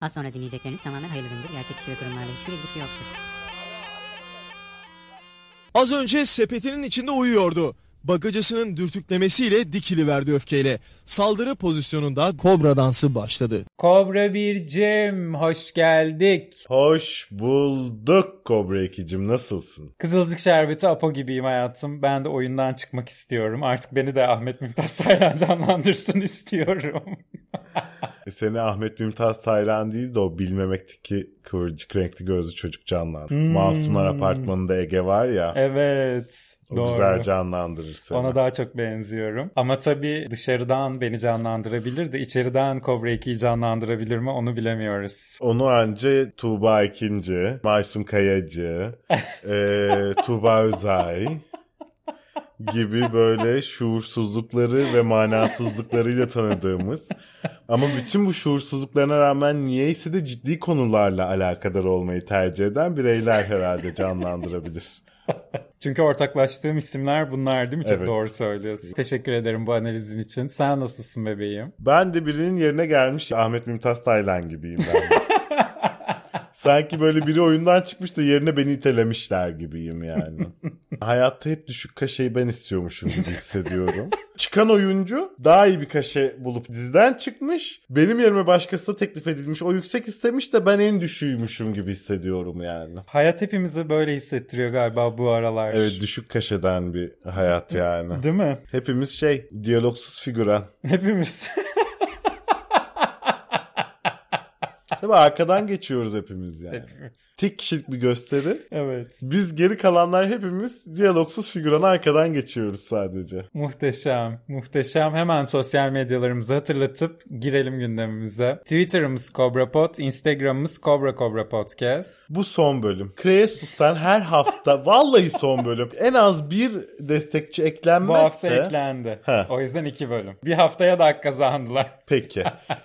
Az sonra dinleyecekleriniz tamamen hayırlı üründür. Gerçek kişi ve kurumlarla hiçbir ilgisi yoktur. Az önce sepetinin içinde uyuyordu. Bagacısının dürtüklemesiyle dikiliverdi öfkeyle. Saldırı pozisyonunda kobra dansı başladı. Kobra bir Cem hoş geldik. Hoş bulduk Kobra Ekicim nasılsın? Kızılcık şerbeti Apo gibiyim hayatım. Ben de oyundan çıkmak istiyorum. Artık beni de Ahmet Mümtaz Saylan canlandırsın istiyorum. E, Seni Ahmet Mümtaz Taylan değil de o bilmemekteki kıvırcık renkli gözlü çocuk canlandı. Masumlar Apartmanı'nda Ege var ya. Hmm. evet. O doğru. güzel canlandırır seni. Ona daha çok benziyorum. Ama tabii dışarıdan beni canlandırabilir de içeriden Kobra 2'yi canlandırabilir mi onu bilemiyoruz. Onu anca Tuğba Ekinci, Masum Kayacı, e, Tuğba Özay gibi böyle şuursuzlukları ve manasızlıklarıyla tanıdığımız ama bütün bu şuursuzluklarına rağmen niyeyse de ciddi konularla alakadar olmayı tercih eden bireyler herhalde canlandırabilir. Çünkü ortaklaştığım isimler bunlar değil mi? Çok Evet. doğru söylüyorsun. Teşekkür ederim bu analizin için. Sen nasılsın bebeğim? Ben de birinin yerine gelmiş Ahmet Mümtaz Taylan gibiyim ben. de. Sanki böyle biri oyundan çıkmış da yerine beni itelemişler gibiyim yani. Hayatta hep düşük kaşeyi ben istiyormuşum gibi hissediyorum. Çıkan oyuncu daha iyi bir kaşe bulup diziden çıkmış. Benim yerime başkası da teklif edilmiş. O yüksek istemiş de ben en düşüğümüşüm gibi hissediyorum yani. Hayat hepimizi böyle hissettiriyor galiba bu aralar. Evet düşük kaşeden bir hayat yani. Değil mi? Hepimiz şey diyalogsuz figüran. Hepimiz. Değil mi? Arkadan geçiyoruz hepimiz yani. Hepimiz. Tek kişilik bir gösteri. Evet. Biz geri kalanlar hepimiz diyalogsuz figüranı arkadan geçiyoruz sadece. Muhteşem, muhteşem. Hemen sosyal medyalarımızı hatırlatıp girelim gündemimize. Twitter'ımız CobraPod, Instagram'ımız Cobra Cobra Podcast. Bu son bölüm. Kreasus'tan her hafta vallahi son bölüm. En az bir destekçi Bu hafta eklenmezse. eklendi. He. O yüzden iki bölüm. Bir haftaya da hak kazandılar. Peki.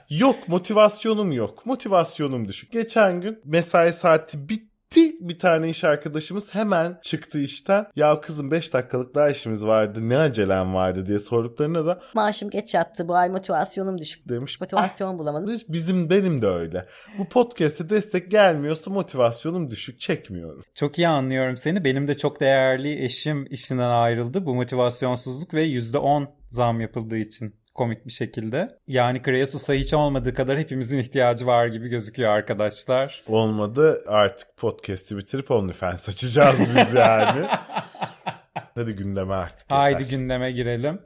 Yok motivasyonum yok. Motivasyonum düşük. Geçen gün mesai saati bitti. Bir tane iş arkadaşımız hemen çıktı işten. Ya kızım 5 dakikalık daha işimiz vardı. Ne acelem vardı diye sorduklarına da Maaşım geç yattı bu ay motivasyonum düşük. demiş Motivasyon bulamadım. Hiç Bizim benim de öyle. Bu podcast'e destek gelmiyorsa motivasyonum düşük çekmiyorum. Çok iyi anlıyorum seni. Benim de çok değerli eşim işinden ayrıldı. Bu motivasyonsuzluk ve %10 zam yapıldığı için komik bir şekilde. Yani Kreasus'a hiç olmadığı kadar hepimizin ihtiyacı var gibi gözüküyor arkadaşlar. Olmadı artık podcast'i bitirip OnlyFans açacağız biz yani. Hadi gündeme artık. yeter. Haydi gündeme girelim.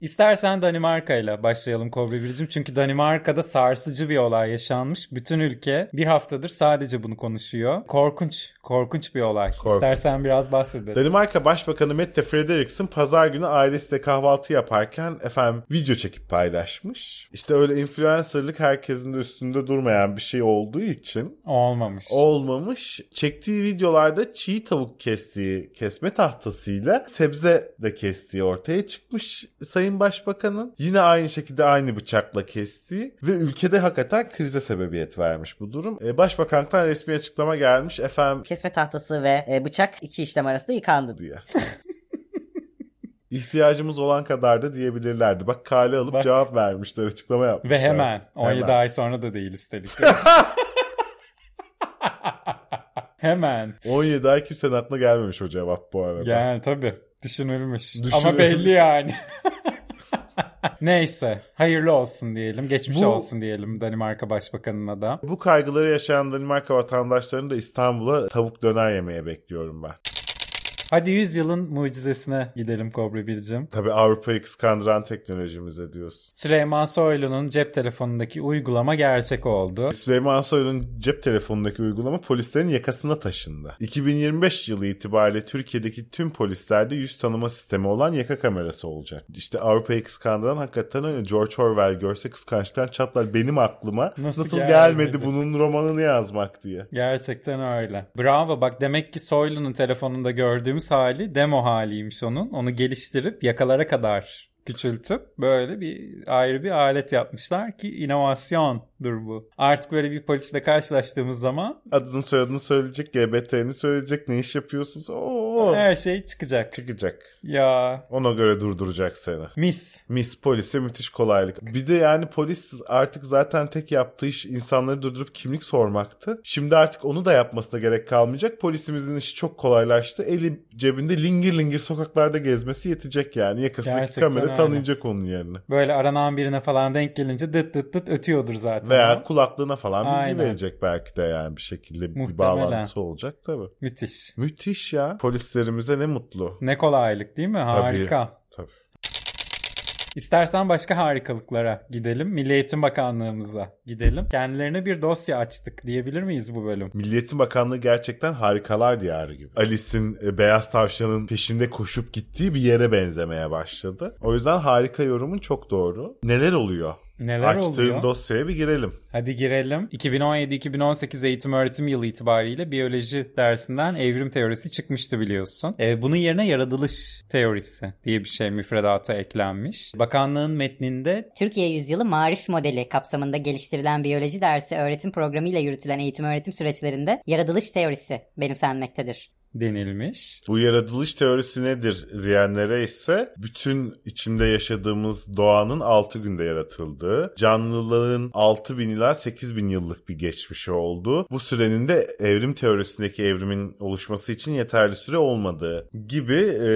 İstersen Danimarka ile başlayalım Kobra Biricim. Çünkü Danimarka'da sarsıcı bir olay yaşanmış. Bütün ülke bir haftadır sadece bunu konuşuyor. Korkunç, korkunç bir olay. Korkunç. İstersen biraz bahsedelim. Danimarka Başbakanı Mette Frederiksen pazar günü ailesiyle kahvaltı yaparken efendim video çekip paylaşmış. İşte öyle influencerlık herkesin de üstünde durmayan bir şey olduğu için Olmamış. olmamış. Çektiği videolarda çiğ tavuk kestiği kesme tahtasıyla sebze de kestiği ortaya çıkmış Sayın Başbakan'ın. Yine aynı şekilde aynı bıçakla kestiği ve ülkede hakikaten krize sebebiyet vermiş bu durum. E, Başbakan'tan resmi açıklama gelmiş efendim Kesme tahtası ve e, bıçak iki işlem arasında yıkandı. diye. İhtiyacımız olan kadar da diyebilirlerdi. Bak kale alıp Bak. cevap vermişler, açıklama yapmışlar. Ve hemen 17 Hemen. ay sonra da değil üstelik. hemen. 17 ay kimsenin aklına gelmemiş o cevap bu arada. Yani tabii düşünülmüş. Ama Düşünülmüş. belli yani. Neyse hayırlı olsun diyelim. Geçmiş Bu- olsun diyelim Danimarka Başbakanı'na da. Bu kaygıları yaşayan Danimarka vatandaşlarını da İstanbul'a tavuk döner yemeye bekliyorum ben. Hadi 100 yılın mucizesine gidelim Kobra Bircim. Tabii Avrupa'yı kıskandıran teknolojimize diyorsun. Süleyman Soylu'nun cep telefonundaki uygulama gerçek oldu. Süleyman Soylu'nun cep telefonundaki uygulama polislerin yakasına taşındı. 2025 yılı itibariyle Türkiye'deki tüm polislerde yüz tanıma sistemi olan yaka kamerası olacak. İşte Avrupa'yı kıskandıran hakikaten öyle. George Orwell görse kıskançtan çatlar benim aklıma. Nasıl Nasıl, gelmedi? gelmedi bunun romanını yazmak diye. Gerçekten öyle. Bravo bak demek ki Soylu'nun telefonunda gördüğümüz hali demo haliymiş onun. Onu geliştirip yakalara kadar küçültüp böyle bir ayrı bir alet yapmışlar ki inovasyondur bu. Artık böyle bir polisle karşılaştığımız zaman Adını soyadını söyleyecek, GBT'ni söyleyecek, ne iş yapıyorsunuz? Oo, Oo. Her şey çıkacak. Çıkacak. Ya Ona göre durduracak seni. mis. Mis polise müthiş kolaylık. Bir de yani polis artık zaten tek yaptığı iş insanları durdurup kimlik sormaktı. Şimdi artık onu da yapmasına gerek kalmayacak. Polisimizin işi çok kolaylaştı. Eli cebinde lingir lingir sokaklarda gezmesi yetecek yani. Yakasındaki Gerçekten kamera öyle. tanıyacak onun yerine. Böyle aranan birine falan denk gelince dıt dıt dıt ötüyordur zaten. Veya ama. kulaklığına falan bilgi Aynen. verecek belki de yani bir şekilde bir Muhtemelen. bağlantısı olacak tabii. Müthiş. Müthiş ya. Polislerimize ne mutlu. Ne kolaylık değil mi? Harika. Tabii. İstersen başka harikalıklara gidelim. Milli Eğitim Bakanlığımıza gidelim. Kendilerine bir dosya açtık diyebilir miyiz bu bölüm? Milliyetin Bakanlığı gerçekten harikalar diyarı gibi. Alice'in e, beyaz tavşanın peşinde koşup gittiği bir yere benzemeye başladı. O yüzden harika yorumun çok doğru. Neler oluyor? Neler Açtığın oluyor? dosyaya bir girelim. Hadi girelim. 2017-2018 eğitim öğretim yılı itibariyle biyoloji dersinden evrim teorisi çıkmıştı biliyorsun. Ee, bunun yerine yaratılış teorisi diye bir şey müfredata eklenmiş. Bakanlığın metninde Türkiye Yüzyılı Marif Modeli kapsamında geliştirilen biyoloji dersi öğretim programıyla yürütülen eğitim öğretim süreçlerinde yaratılış teorisi benimsenmektedir. denilmiş. Bu yaratılış teorisi nedir diyenlere ise bütün içinde yaşadığımız doğanın 6 günde yaratıldığı, canlılığın 6 bin ila 8 bin yıllık bir geçmişi olduğu, bu sürenin de evrim teorisindeki evrimin oluşması için yeterli süre olmadığı gibi e,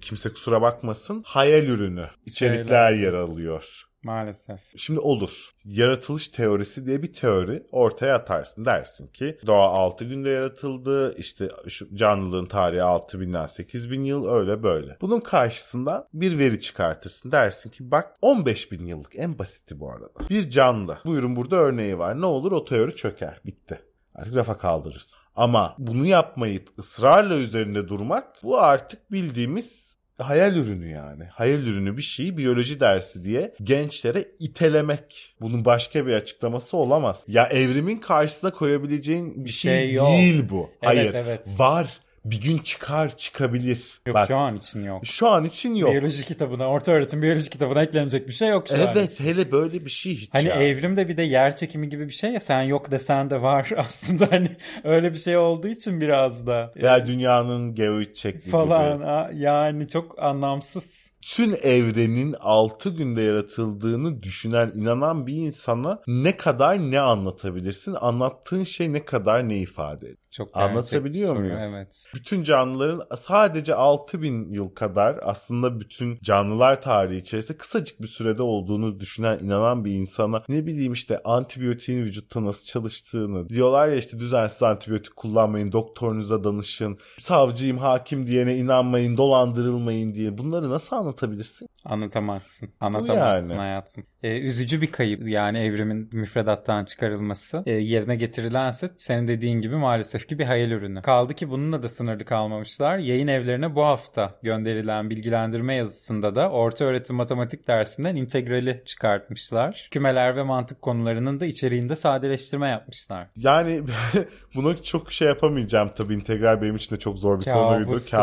kimse kusura bakmasın hayal ürünü içerikler Şeyler. yer alıyor. Maalesef. Şimdi olur. Yaratılış teorisi diye bir teori ortaya atarsın. Dersin ki doğa 6 günde yaratıldı. işte şu canlılığın tarihi 6000'den 8000 yıl öyle böyle. Bunun karşısında bir veri çıkartırsın. Dersin ki bak 15000 yıllık en basiti bu arada. Bir canlı. Buyurun burada örneği var. Ne olur o teori çöker. Bitti. Artık rafa kaldırırız. Ama bunu yapmayıp ısrarla üzerinde durmak bu artık bildiğimiz hayal ürünü yani. Hayal ürünü bir şeyi biyoloji dersi diye gençlere itelemek. Bunun başka bir açıklaması olamaz. Ya evrimin karşısına koyabileceğin bir şey, Şey yok. değil bu. Evet, Hayır. evet. Var. Bir gün çıkar çıkabilir. Yok Bak, şu an için yok. şu an için yok. Biyoloji kitabına, orta öğretim biyoloji kitabına eklenecek bir şey yok şu an. Evet hele böyle bir şey hiç Hani ya. evrimde bir de yer çekimi gibi bir şey ya sen yok desen de var aslında hani öyle bir şey olduğu için biraz da Ya dünyanın geoid çektiği falan gibi. a- yani çok anlamsız. tüm evrenin 6 günde yaratıldığını düşünen, inanan bir insana ne kadar ne anlatabilirsin? Anlattığın şey ne kadar ne ifade eder? Çok gerçek bir Anlatabiliyor soru, muyum? Evet. Bütün canlıların sadece 6000 yıl kadar aslında bütün canlılar tarihi içerisinde kısacık bir sürede olduğunu düşünen, inanan bir insana ne bileyim işte antibiyotiğin vücutta nasıl çalıştığını diyorlar ya işte düzensiz antibiyotik kullanmayın, doktorunuza danışın, savcıyım, hakim diyene inanmayın, dolandırılmayın diye bunları nasıl anlatabilirsin? Anlatamazsın. Anlatamazsın yani. hayatım. Ee, üzücü bir kayıp yani evrimin müfredattan çıkarılması. Ee, yerine getirilense senin dediğin gibi maalesef ki bir hayal ürünü. Kaldı ki bununla da sınırlı kalmamışlar. Yayın evlerine bu hafta gönderilen bilgilendirme yazısında da orta öğretim matematik dersinden integrali çıkartmışlar. Kümeler ve mantık konularının da içeriğinde sadeleştirme yapmışlar. Yani buna çok şey yapamayacağım tabii integral benim için de çok zor bir Kabustu konuydu. benim için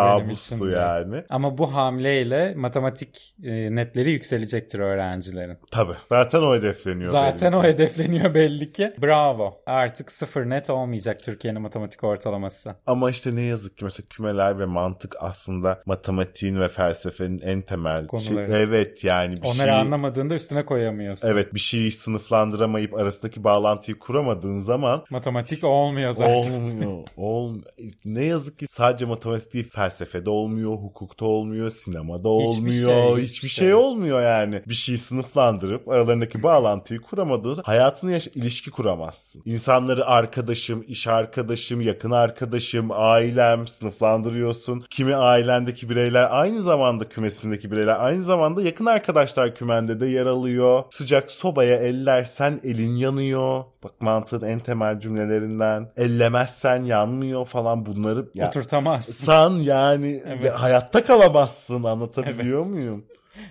Kabustu de. yani. Ama bu hamleyle matematik e, netleri yükselecektir öğrencilerin. Tabii zaten o hedefleniyor. Zaten benim o için. hedefleniyor belli ki. Bravo. Artık sıfır net olmayacak Türkiye'nin matematik ortalaması. Ama işte ne yazık ki mesela kümeler ve mantık aslında matematiğin ve felsefenin en temel Konuları. Şey. Evet yani bir Onları şeyi... anlamadığında üstüne koyamıyorsun. Evet bir şeyi sınıflandıramayıp arasındaki bağlantıyı kuramadığın zaman Matematik olmuyor zaten. Olmuyor. Olmuyor. Ne yazık ki sadece matematik değil felsefede olmuyor, hukukta olmuyor, sinemada Hiçbir olmuyor. şey, hiçbir şey, olmuyor yani. Bir şeyi sınıflandırıp aralarındaki bağlantıyı kuramadığın hayatını yaş- ilişki kuramazsın. İnsanları arkadaşım, iş arkadaşım, yakın arkadaşım, ailem sınıflandırıyorsun. Kimi ailendeki bireyler aynı zamanda kümesindeki bireyler aynı zamanda yakın arkadaşlar kümende de yer alıyor. Sıcak sobaya ellersen elin yanıyor. Bak mantığın en temel cümlelerinden. Ellemezsen yanmıyor falan bunları. Ya, Oturtamazsın. San yani Evet. ve hayatta kalamazsın anlatabiliyor muyum?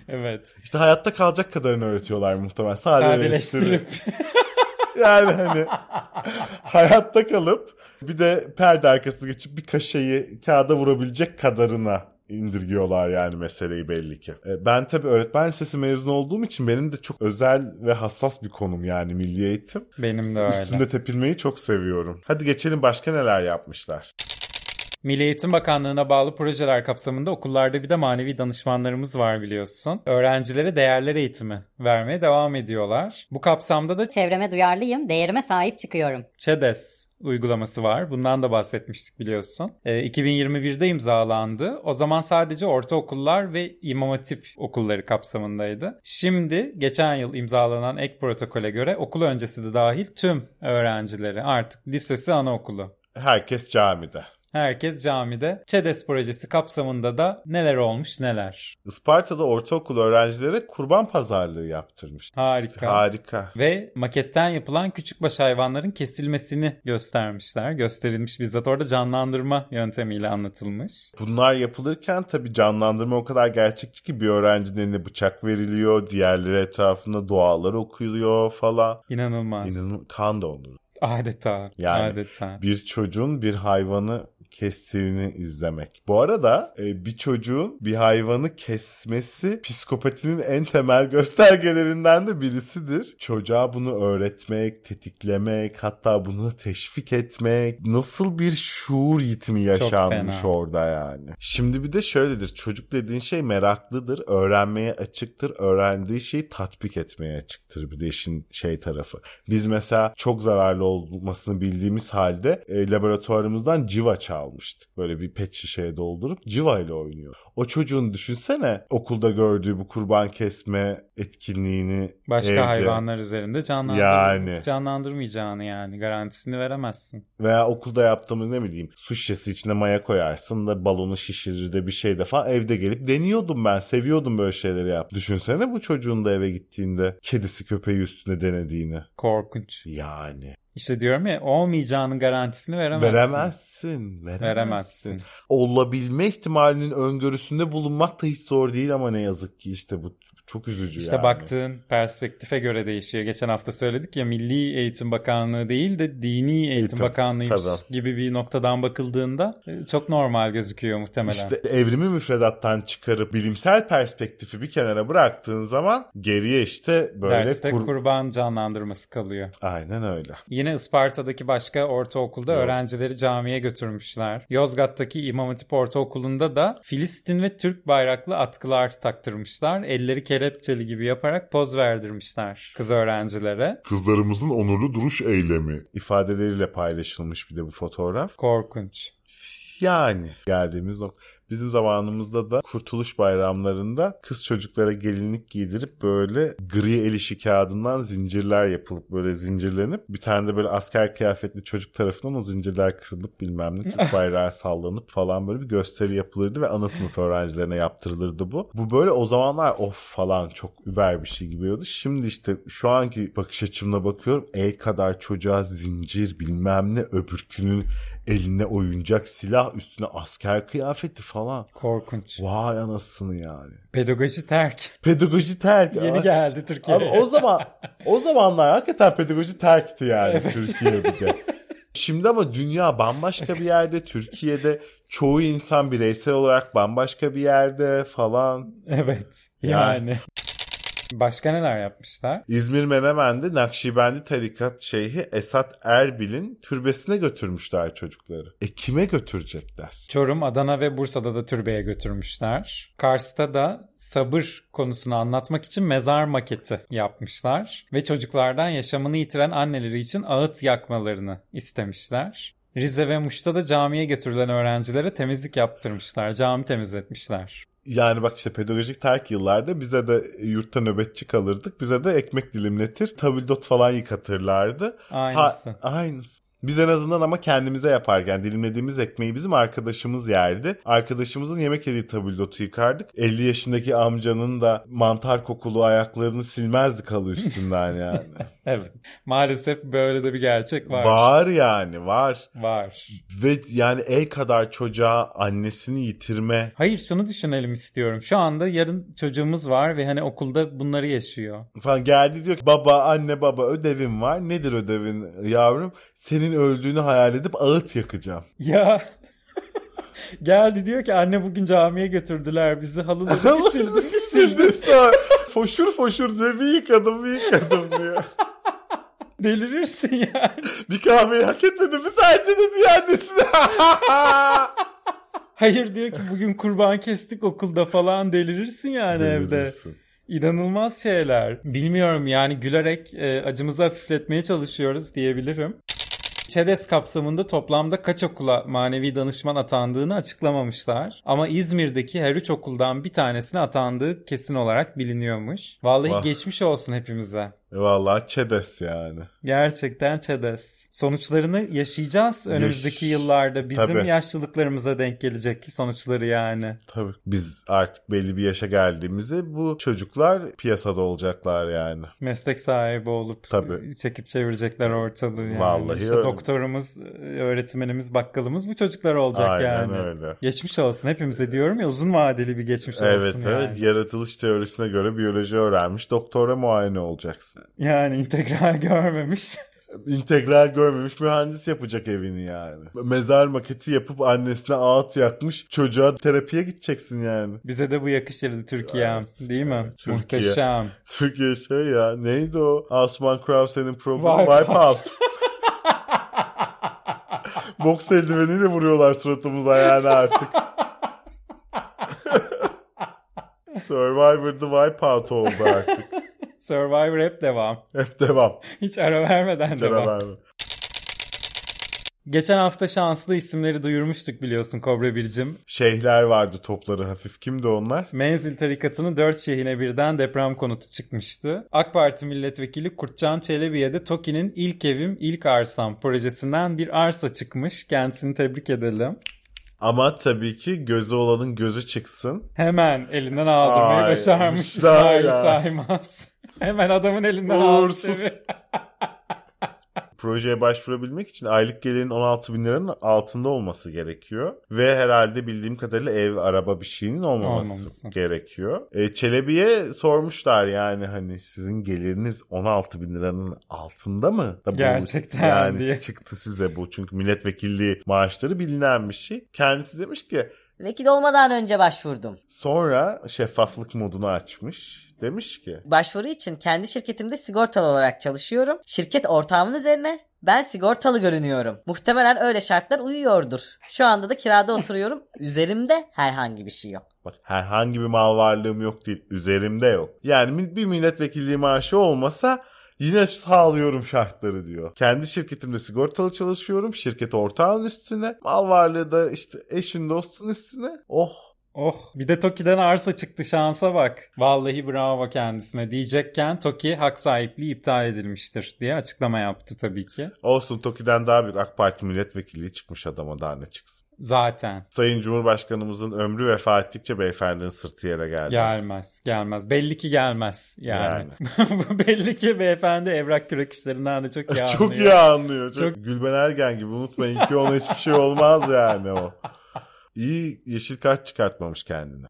evet. İşte hayatta kalacak kadarını öğretiyorlar muhtemelen. Sadeleştirip. Sadeleştirip. Yani hani hayatta kalıp bir de perde arkasına geçip bir kaşeyi kağıda vurabilecek kadarına indirgiyorlar yani meseleyi belli ki. E, Ben tabii öğretmen lisesi mezunu olduğum için benim de çok özel ve hassas bir konum yani milli eğitim. Benim de öyle. Üstünde tepinmeyi çok seviyorum. Hadi geçelim başka neler yapmışlar. Milli Eğitim Bakanlığı'na bağlı projeler kapsamında okullarda bir de manevi danışmanlarımız var biliyorsun. Öğrencilere değerler eğitimi vermeye devam ediyorlar. Bu kapsamda da Çevreme duyarlıyım, değerime sahip çıkıyorum. ÇEDES uygulaması var. Bundan da bahsetmiştik biliyorsun. E, 2021'de imzalandı. O zaman sadece ortaokullar ve imam hatip okulları kapsamındaydı. Şimdi geçen yıl imzalanan ek protokole göre okul öncesi de dahil tüm öğrencileri artık lisesi anaokulu Herkes camide. Herkes camide. ÇEDES projesi kapsamında da neler olmuş neler. Isparta'da ortaokul öğrencilere kurban pazarlığı yaptırmış. Harika. Harika. Ve maketten yapılan küçükbaş hayvanların kesilmesini göstermişler. Gösterilmiş bizzat orada canlandırma yöntemiyle anlatılmış. Bunlar yapılırken tabii canlandırma o kadar gerçekçi ki bir öğrencinin eline bıçak veriliyor, diğerleri etrafında duaları okuyuluyor falan. İnanılmaz. İnanın kan dondurur. Adeta. Yani Adeta. Bir çocuğun bir hayvanı kestiğini izlemek. Bu arada e, bir çocuğun bir hayvanı kesmesi psikopatinin en temel göstergelerinden de birisidir. Çocuğa bunu öğretmek, tetiklemek, hatta bunu teşvik etmek nasıl bir şuur yitimi yaşanmış fena. orada yani. Şimdi bir de şöyledir. Çocuk dediğin şey meraklıdır, öğrenmeye açıktır, öğrendiği şeyi tatbik etmeye açıktır bir de işin şey tarafı. Biz mesela çok zararlı olmasını bildiğimiz halde e, laboratuvarımızdan civa çalmıştık. Böyle bir pet şişeye doldurup civa ile oynuyor. O çocuğun düşünsene okulda gördüğü bu kurban kesme etkinliğini Başka evde. hayvanlar üzerinde canlandır Yani. canlandırmayacağını yani garantisini veremezsin. Veya okulda yaptığımız ne bileyim su şişesi içine maya koyarsın da balonu şişirir de bir şey de falan evde gelip deniyordum ben seviyordum böyle şeyleri yap. Düşünsene bu çocuğun da eve gittiğinde kedisi köpeği üstüne denediğini. Korkunç. Yani İşte diyorum ya olmayacağının garantisini veremezsin. veremezsin. Veremezsin. Veremezsin. Olabilme ihtimalinin öngörüsünde bulunmak da hiç zor değil ama ne yazık ki işte bu çok üzücü İşte yani. baktığın perspektife göre değişiyor. Geçen hafta söyledik ya Milli Eğitim Bakanlığı değil de Dini Eğitim, Eğitim, Bakanlığıymış tabii. gibi bir noktadan bakıldığında e, çok normal gözüküyor muhtemelen. İşte evrimi müfredattan çıkarıp bilimsel perspektifi bir kenara bıraktığın zaman geriye işte böyle Derste kur- kurban canlandırması kalıyor. Aynen öyle. Yine Isparta'daki başka ortaokulda Yoz- öğrencileri camiye götürmüşler. Yozgat'taki İmam Hatip Ortaokulu'nda da Filistin ve Türk bayraklı atkılar taktırmışlar. Elleri kelepçeli gibi yaparak poz verdirmişler kız öğrencilere. Kızlarımızın onurlu duruş eylemi. ifadeleriyle paylaşılmış bir de bu fotoğraf. Korkunç. Yani geldiğimiz nokta. Bizim zamanımızda da kurtuluş bayramlarında kız çocuklara gelinlik giydirip böyle gri el işi kağıdından zincirler yapılıp böyle zincirlenip bir tane de böyle asker kıyafetli çocuk tarafından o zincirler kırılıp bilmem ne Türk bayrağı sallanıp falan böyle bir gösteri yapılırdı ve ana sınıf öğrencilerine yaptırılırdı bu. Bu böyle o zamanlar of falan çok über bir şey gibiyordu. Şimdi işte şu anki bakış açımla bakıyorum el kadar çocuğa zincir bilmem ne öbürkünün eline oyuncak silah üstüne asker kıyafeti falan. Korkunç. Vay anasını yani. Pedagoji terk. Pedagoji terk. Yeni Aa, geldi Türkiye'ye. Abi o zaman o zamanlar hakikaten pedagoji terkti yani Türkiye'de. de. Şimdi ama dünya bambaşka bir yerde. Türkiye'de çoğu insan bireysel olarak bambaşka bir yerde falan. Evet. Yani. Yani. Başka neler yapmışlar? İzmir Menemen'de Nakşibendi Tarikat Şeyhi Esat Erbil'in türbesine götürmüşler çocukları. E kime götürecekler? Çorum, Adana ve Bursa'da da türbeye götürmüşler. Kars'ta da sabır konusunu anlatmak için mezar maketi yapmışlar ve çocuklardan yaşamını yitiren anneleri için ağıt yakmalarını istemişler. Rize ve Muş'ta da camiye götürülen öğrencilere temizlik yaptırmışlar. Cami temizletmişler. Yani bak işte pedagojik terk yıllarda bize de yurtta nöbetçi kalırdık. Bize de ekmek dilimletir, tabildot falan yıkatırlardı. Aynısı. Ha, aynısı. Biz en azından ama kendimize yaparken dilimlediğimiz ekmeği bizim arkadaşımız yerdi. Arkadaşımızın yemek yediği tabuldotu yıkardık. 50 yaşındaki amcanın da mantar kokulu ayaklarını silmezdik halı üstünden yani. Evet. Maalesef böyle de bir gerçek var. var. yani var. var. Ve yani el kadar çocuğa annesini yitirme. Hayır şunu düşünelim istiyorum. Şu anda yarın çocuğumuz var ve hani okulda bunları yaşıyor. Falan geldi diyor ki baba anne baba ödevim var. Nedir ödevin yavrum? Senin öldüğünü hayal edip ağıt yakacağım. Ya geldi diyor ki anne bugün camiye götürdüler bizi halıları bir sildim bir sildim. Sildim sonra foşur foşur diyor bir yıkadım bir yıkadım diyor. Delirirsin yani. Bir kahveyi hak etmedim mi sence dedi ya annesine. Hayır diyor ki bugün kurban kestik okulda falan delirirsin yani evde. Delirirsin. İnanılmaz şeyler. Bilmiyorum yani gülerek e, acımızı hafifletmeye çalışıyoruz diyebilirim. ÇEDES kapsamında toplamda kaç okula manevi danışman atandığını açıklamamışlar. Ama İzmir'deki her üç okuldan bir tanesine atandığı kesin olarak biliniyormuş. Vallahi Vah. geçmiş olsun hepimize. E Vallahi çedes yani. Gerçekten ÇEDES. Sonuçlarını yaşayacağız önümüzdeki Yaş- yıllarda. Bizim Tabii. yaşlılıklarımıza denk gelecek sonuçları yani. Tabii. Biz artık belli bir yaşa geldiğimizde bu çocuklar piyasada olacaklar yani. meslek sahibi olup Tabii. çekip çevirecekler ortalığı yani. Vallahi İşte öyle. doktorumuz, öğretmenimiz, bakkalımız bu çocuklar olacak Aynen yani. öyle. Geçmiş olsun hepimize diyorum ya uzun vadeli bir geçmiş Evet olsun yani. evet yaratılış teorisine göre biyoloji öğrenmiş doktora muayene olacaksın. Yani integral görmemiş. İntegral görmemiş mühendis yapacak evini yani. Mezar maketi yapıp annesine ağıt yakmış çocuğa terapiye gideceksin yani. Bize de bu yakışırdı Türkiye'm Evet, değil mi? evet, Türkiye. Muhteşem. Türkiye şey ya neydi o Asman Krause'nin programı Wipeout. Wipeout. Boks eldiveniyle vuruyorlar suratımıza yani artık. Survivor'da Wipeout oldu artık. Survivor hep devam. Hep devam. Hiç ara vermeden devam. Canavar mı? Geçen hafta şanslı isimleri duyurmuştuk biliyorsun Kobra Bircim. Şeyhler vardı topları hafif. Kimdi onlar? Menzil tarikatının dört şehrine birden deprem konutu çıkmıştı. AK Parti milletvekili Kurtcan Çelebi'ye de TOKİ'nin ilk evim ilk arsam projesinden bir arsa çıkmış. Kendisini tebrik edelim. Ama tabii ki gözü olanın gözü çıksın. Hemen elinden aldırmayı Ay, başarmış işte İsmail ya. Saymaz. Hemen adamın elinden Uğursuz. aldı. Projeye başvurabilmek için aylık gelirin 16 bin liranın altında olması gerekiyor. Ve herhalde bildiğim kadarıyla ev, araba bir şeyinin olmaması Olmaması. gerekiyor. E, Çelebi'ye sormuşlar yani hani sizin geliriniz 16 bin liranın altında mı? Da bu- Gerçekten yani diye. çıktı size bu. Çünkü milletvekilliği maaşları bilinen bir şey. Kendisi demiş ki Vekil olmadan önce başvurdum. Sonra şeffaflık modunu açmış. Demiş ki Başvuru için kendi şirketimde sigortalı olarak çalışıyorum. Şirket ortağımın üzerine ben sigortalı görünüyorum. Muhtemelen öyle şartlar uyuyordur. Şu anda da kirada oturuyorum. Üzerimde herhangi bir şey yok. bak herhangi bir mal varlığım yok değil. Üzerimde yok. Yani mi- bir milletvekilliği maaşı olmasa yine sağlıyorum şartları diyor. Kendi şirketimde sigortalı çalışıyorum. Şirket ortağın üstüne. Mal varlığı da işte eşin dostun üstüne. Oh Oh bir de TOKİ'den arsa çıktı şansa bak. Vallahi bravo kendisine diyecekken TOKİ hak sahipliği iptal edilmiştir diye açıklama yaptı tabii ki. olsun Toki'den daha büyük AK Parti milletvekilliği çıkmış adama daha ne çıksın. Zaten Sayın Cumhurbaşkanımızın ömrü vefat ettikçe beyefendinin sırtı yere gelmez. Gelmez, gelmez. Belli ki gelmez yani. Yani. Bu Belli ki beyefendi evrak kürek işlerinden de çok iyi anlıyor. Çok iyi anlıyor. Çok... Çok- Gülben Ergen gibi unutmayın ki ona hiçbir şey olmaz yani o. İyi yeşil kart çıkartmamış kendine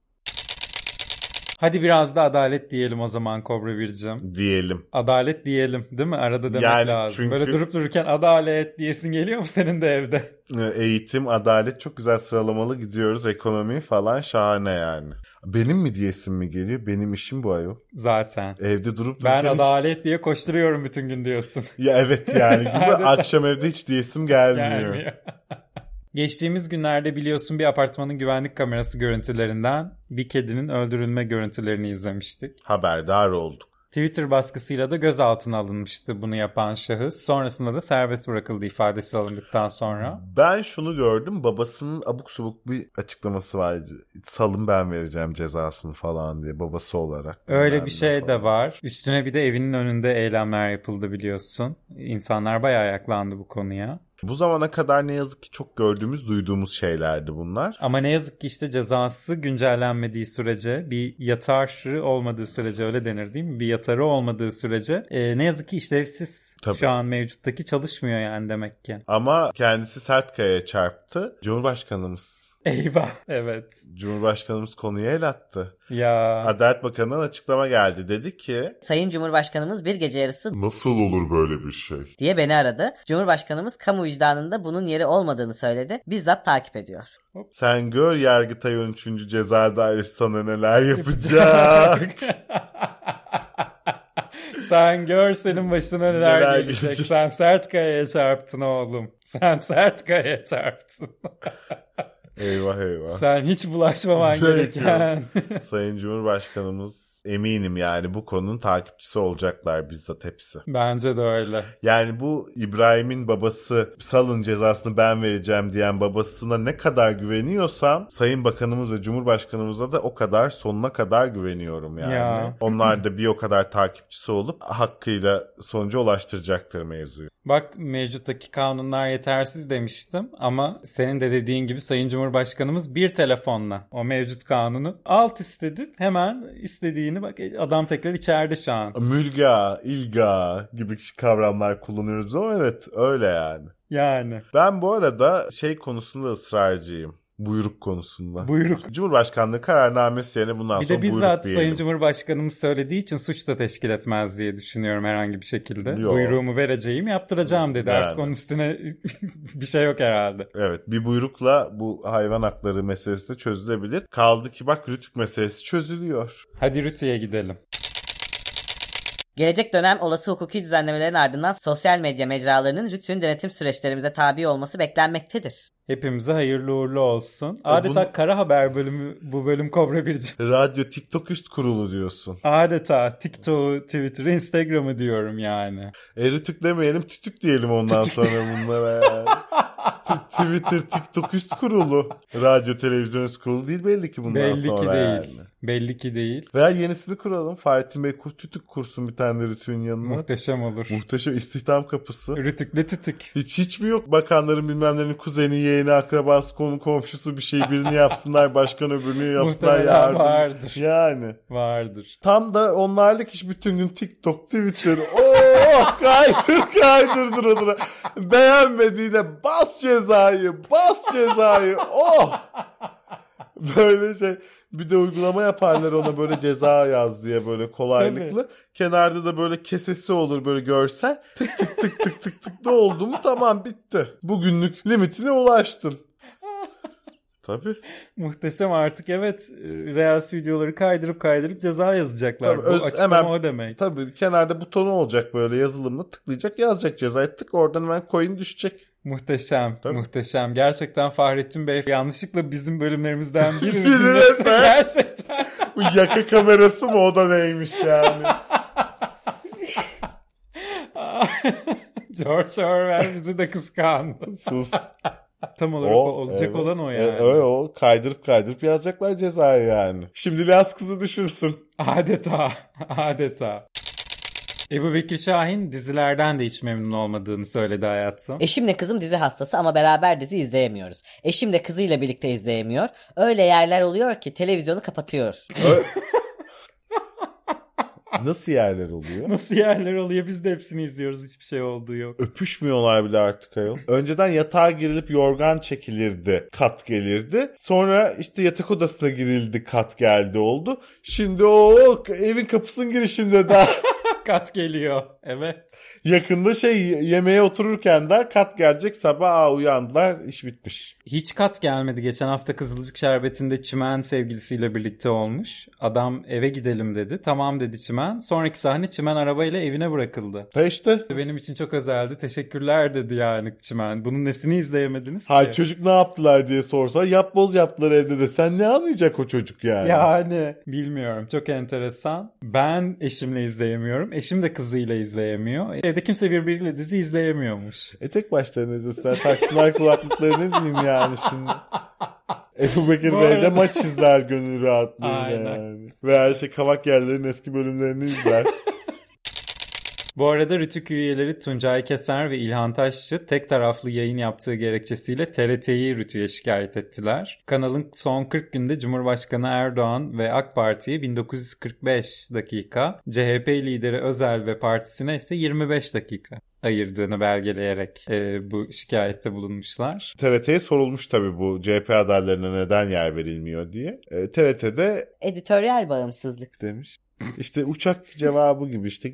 Hadi biraz da adalet diyelim o zaman Kobra Bircim. diyelim. Adalet diyelim değil mi? Arada demek Yani lazım. çünkü- Böyle durup dururken adalet diyesin geliyor mu senin de evde? Ee, Eğitim, adalet çok güzel sıralamalı gidiyoruz. Ekonomi falan şahane yani. Benim mi diyesin mi geliyor? Benim işim bu ayol. Zaten. Evde durup Ben dururken hiç- adalet diye koşturuyorum bütün gün diyorsun. Ya evet yani gibi Adeta. akşam evde hiç diyesim gelmiyor. Gelmiyor. Geçtiğimiz günlerde biliyorsun bir apartmanın güvenlik kamerası görüntülerinden bir kedinin öldürülme görüntülerini izlemiştik. Haberdar olduk. Twitter baskısıyla da gözaltına alınmıştı bunu yapan şahıs. Sonrasında da serbest bırakıldı ifadesi alındıktan sonra. Ben şunu gördüm. Babasının abuk subuk bir açıklaması vardı. Salın ben vereceğim cezasını falan diye babası olarak. Öyle Bilmem bir ne şey falan. de var. Üstüne bir de evinin önünde eylemler yapıldı biliyorsun. İnsanlar bayağı ayaklandı bu konuya. Bu zamana kadar ne yazık ki çok gördüğümüz, duyduğumuz şeylerdi bunlar. Ama ne yazık ki işte cezası güncellenmediği sürece bir yatarı olmadığı sürece öyle denir değil mi? Bir yatarı olmadığı sürece e, ne yazık ki işlevsiz Tabii. şu an mevcuttaki çalışmıyor yani demek ki. Ama kendisi sert kayaya çarptı. Cumhurbaşkanımız Eyvah evet Cumhurbaşkanımız konuya el attı. ya. Adalet Bakanı'ndan açıklama geldi. Dedi ki Sayın Cumhurbaşkanımız bir gece yarısı Nasıl olur böyle bir şey? diye beni aradı. Cumhurbaşkanımız kamu vicdanında bunun yeri olmadığını söyledi. Bizzat takip ediyor. sen gör Yargıtay 13. Ceza Dairesi sana neler yapacak. Sen gör senin başına neler, Neler gelecek. gelecek. Sen sert kayaya çarptın oğlum. Sen sert kayaya çarptın. Eyvah eyvah. Sen hiç bulaşmaman Güzel gereken. Sayın Cumhurbaşkanımız eminim yani bu konunun takipçisi olacaklar bizzat hepsi. Bence de öyle. Yani bu İbrahim'in babası salın cezasını ben vereceğim diyen babasına ne kadar güveniyorsam Sayın Bakanımız ve Cumhurbaşkanımıza da o kadar sonuna kadar güveniyorum yani. Ya. Onlar da bir o kadar takipçisi olup hakkıyla sonuca ulaştıracaktır mevzuyu. Bak mevcuttaki kanunlar yetersiz demiştim ama senin de dediğin gibi Sayın Cumhurbaşkanımız bir telefonla o mevcut kanunu alt üst edip hemen istediğini bak adam tekrar içeride şu an. Mülga, ilga gibi kavramlar kullanıyoruz ama evet öyle yani. Yani Ben bu arada şey konusunda ısrarcıyım. Buyruk konusunda. buyruk. Cumhurbaşkanlığı kararnamesi yerine bundan Bir sonra de buyruk bizzat diyelim. Sayın Cumhurbaşkanımız söylediği için suç da teşkil etmez diye düşünüyorum herhangi bir şekilde. Yok. Buyruğumu vereceğim yaptıracağım dedi. Yani. Artık onun üstüne bir şey yok herhalde. Evet bir buyrukla bu hayvan hakları meselesi de çözülebilir. Kaldı ki bak Rütük meselesi çözülüyor. Hadi Rütü'ye gidelim. Gelecek dönem olası hukuki düzenlemelerin ardından sosyal medya mecralarının rütün denetim süreçlerimize tabi olması beklenmektedir. Hepimize hayırlı uğurlu E, olsun. Adeta bunu- kara haber bölümü bu bölüm Kobra Birci. Radyo TikTok üst kurulu diyorsun. Adeta TikTok'u, Twitter'ı, Instagram'ı diyorum yani. E Rütük demeyelim tütük diyelim ondan sonra bunlara. yani. T- Twitter TikTok üst kurulu. Radyo televizyon üst kurulu değil belli ki bundan Belli sonra. ki değil. yani. Belli ki değil. Veya yenisini kuralım. Fatih Bey kur, tütük kursun bir tane de Rütük'ün yanına. Muhteşem olur. Muhteşem istihdam kapısı. Rütükle tütük. Hiç hiç mi yok? Bakanların bilmemlerinin kuzeni, yeğeni, akrabası, konu komşusu bir şey birini yapsınlar, başkan öbürünü yapsınlar Muhtemelen yardım. vardır. Yani. Vardır. Tam da onlarlık iş bütün gün TikTok, Twitter. Oo kaydır kaydır dura dura. Beğenmediğine bas cezayı, bas cezayı. Oh! Böyle şey bir de uygulama yaparlar ona böyle ceza yaz diye böyle kolaylıkla. Kenarda da böyle kesesi olur böyle görsel. Tık tık tık tık tık tık ne oldu mu tamam bitti. Bugünlük limitine ulaştın. Tabii. Muhteşem artık evet e, Reels videoları kaydırıp kaydırıp ceza yazacaklar. Tabii, Bu öz- açıklama hemen- o demek. Tabii kenarda butonu olacak böyle yazılımla tıklayacak yazacak cezayı tık oradan hemen coin düşecek. Muhteşem, Tabii. muhteşem. Gerçekten Fahrettin Bey yanlışlıkla bizim bölümlerimizden birini Birini dinlese de- gerçekten. Bu yaka kamerası mı o da neymiş yani. George Orwell bizi de kıskandı. Sus. Tam olarak o, olacak evet. E, olan o yani. Evet, evet, o kaydırıp kaydırıp yazacaklar cezayı yani. Şimdi Laz kızı düşünsün. Adeta, adeta. Ebu Bekir Şahin dizilerden de hiç memnun olmadığını söyledi hayatım. E- Eşimle kızım dizi hastası ama beraber dizi izleyemiyoruz. Eşim de kızıyla birlikte izleyemiyor. Öyle yerler oluyor ki televizyonu kapatıyor. Ö- Nasıl yerler oluyor? Nasıl yerler oluyor biz de hepsini izliyoruz hiçbir şey olduğu yok. Öpüşmüyorlar bile artık ayol. Önceden yatağa girilip yorgan çekilirdi. Kat gelirdi. Sonra işte yatak odasına girildi. Kat geldi oldu. Şimdi o evin kapısının girişinde daha Kat geliyor. Evet. yakında şey yemeğe otururken daha kat gelecek. Sabah aa, uyandılar iş bitmiş. Hiç kat gelmedi. Geçen hafta Kızılcık Şerbeti'nde Çimen sevgilisiyle birlikte olmuş. Adam eve gidelim dedi. Tamam dedi Çimen. Sonraki sahne Çimen arabayla evine bırakıldı. Ha işte. Benim için çok özeldi. Teşekkürler dedi yani Çimen. Bunun nesini izleyemediniz ki? Ha çocuk ne yaptılar diye sorsa yapboz yaptılar evde de. Sen ne anlayacak o çocuk yani? Yani bilmiyorum çok enteresan. Ben eşimle izleyemiyorum. Eşim de kızıyla izleyemiyor. Evde kimse birbiriyle dizi izleyemiyormuş. E tek başlarına izlesinler. Taksınlar kulaklıkları ne diyeyim yani şimdi. Ebu Bekir Bu Bey de arada- maç izler gönül rahatlığıyla Aynen. yani. Veya şey kavak yerlerin eski bölümlerini izler. Bu arada Rütük üyeleri Tuncay Keser ve İlhan Taşçı tek taraflı yayın yaptığı gerekçesiyle TRT'yi Rütük'e şikayet ettiler. Kanalın son 40 günde Cumhurbaşkanı Erdoğan ve AK Parti'ye 1945 dakika, CHP lideri Özel ve partisine ise 25 dakika ayırdığını belgeleyerek e, bu şikayette bulunmuşlar. TRT'ye sorulmuş tabii bu CHP adaylarına neden yer verilmiyor diye. E, TRT'de Editoryal bağımsızlık. demiş. İşte uçak cevabı gibi işte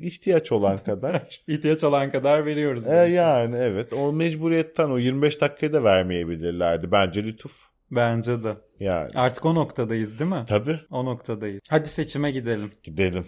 ihtiyaç olan kadar. İhtiyaç olan kadar veriyoruz. E, demişiz. yani evet o mecburiyetten o 25 dakikayı da vermeyebilirlerdi. Bence lütuf. Bence de. Yani Artık o noktadayız değil mi? tabii O noktadayız. Hadi seçime gidelim. gidelim.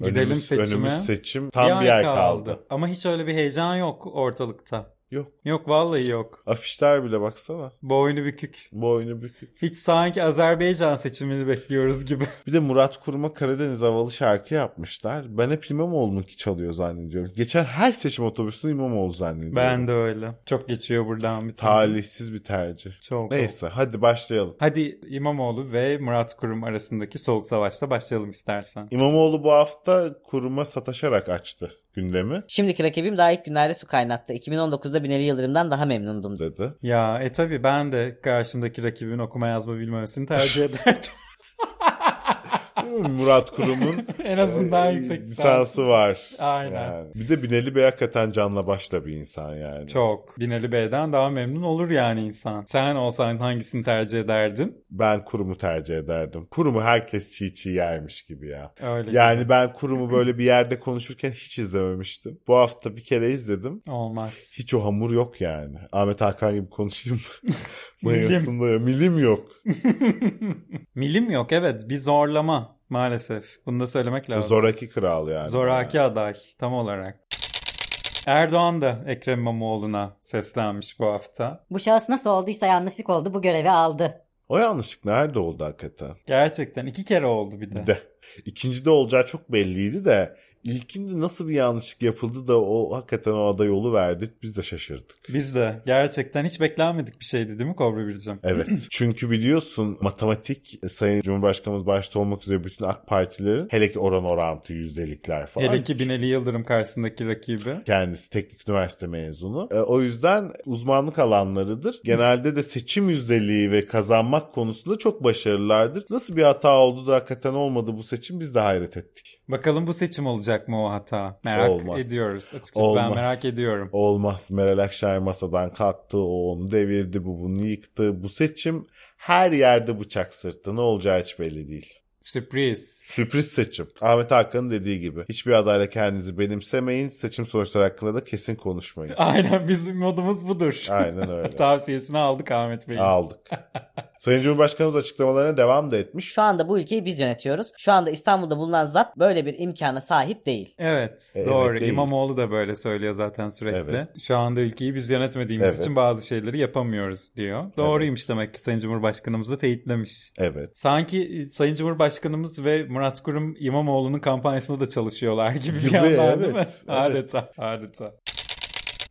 Gidelim önümüz, seçime. Önümüz seçim tam bir ay kaldı. Ama hiç öyle bir heyecan yok ortalıkta. Yok. Yok vallahi yok. Afişler bile baksana. Boynu bükük. Boynu bükük. Hiç sanki Azerbaycan seçimini bekliyoruz gibi. Bir de Murat Kurum'a Karadeniz havalı şarkı yapmışlar. Ben hep İmamoğlu'nunki çalıyor zannediyorum. Geçen her seçim otobüsünü İmamoğlu zannediyorum. ben de öyle. Çok geçiyor buradan bir tane. Talihsiz bir tercih. Çok. Neyse hadi başlayalım. Hadi İmamoğlu ve Murat Kurum arasındaki soğuk savaşta başlayalım istersen. İmamoğlu bu hafta kuruma sataşarak açtı gündemi Şimdiki rakibim daha ilk günlerde su kaynattı. 2019'da Binali Yıldırım'dan daha memnundum. dedi. Ya e tabi ben de karşımdaki rakibin okuma yazma bilmemesini tercih ederdim. Murat Kurum'un en azından e, yüksek lisans. lisansı var. Aynen. Yani. Bir de Binali Bey hakikaten canla başla bir insan yani. Çok. Binali Bey'den daha memnun olur yani insan. Sen olsan hangisini tercih ederdin? Ben kurumu tercih ederdim. Kurumu herkes çiğ çiğ yermiş gibi ya. Öyle. Yani ben kurumu böyle bir yerde konuşurken hiç izlememiştim. Bu hafta bir kere izledim. Olmaz. Hiç o hamur yok yani. Ahmet Hakan gibi konuşayım. Bayılsın da milim yok. Milim yok evet. Bir zorlama maalesef. Bunu da söylemek lazım. Zoraki kral yani. Zoraki aday tam olarak. Erdoğan da Ekrem İmamoğlu'na seslenmiş bu hafta. Bu şahıs nasıl olduysa yanlışlık oldu bu görevi aldı. O yanlışlık nerede oldu hakikaten? Gerçekten iki kere oldu bir de. De. İkinci de olacağı çok belliydi de ilkinde nasıl bir yanlışlık yapıldı da o hakikaten o aday yolu verdi biz de şaşırdık. Biz de gerçekten hiç beklenmedik bir şeydi değil mi Kobra Bircim? Evet. Çünkü biliyorsun matematik e, Sayın Cumhurbaşkanımız başta olmak üzere bütün AK Partilerin hele ki oran orantı yüzdelikler falan. Hele ki Binali Yıldırım karşısındaki rakibi. Kendisi teknik üniversite mezunu. E, o yüzden uzmanlık alanlarıdır. Genelde de seçim yüzdeliği ve kazanmak konusunda çok başarılılardır. Nasıl bir hata oldu da hakikaten olmadı bu seçim biz de hayret ettik. Bakalım bu seçim olacak mı o hata? Merak Olmaz. ediyoruz. Açıkçası ben Olmaz. merak ediyorum. Olmaz Meral Akşener masadan kalktı, o onu devirdi, bu bunu yıktı. Bu seçim her yerde bıçak sırtı. Ne olacağı hiç belli değil. Sürpriz. Sürpriz seçim. Ahmet Hakan'ın dediği gibi. Hiçbir adayla kendinizi benimsemeyin. Seçim sonuçları hakkında da kesin konuşmayın. Aynen bizim modumuz budur. Aynen öyle. Tavsiyesini aldık Ahmet Bey'in. Aldık. Sayın Cumhurbaşkanımız açıklamalarına devam da etmiş. Şu anda bu ülkeyi biz yönetiyoruz. Şu anda İstanbul'da bulunan zat böyle bir imkana sahip değil. Evet, E, doğru. evet, değil. İmamoğlu da böyle söylüyor zaten sürekli. Evet. Şu anda ülkeyi biz yönetmediğimiz Evet. için bazı şeyleri yapamıyoruz diyor. Doğruymuş demek ki Sayın Cumhurbaşkanımız da teyitlemiş. Evet. Sanki e, Sayın Cumhurbaşkanımız ve Murat Kurum İmamoğlu'nun kampanyasında da çalışıyorlar gibi bir Gibi, yandan değil mi? evet, evet. Adeta, adeta.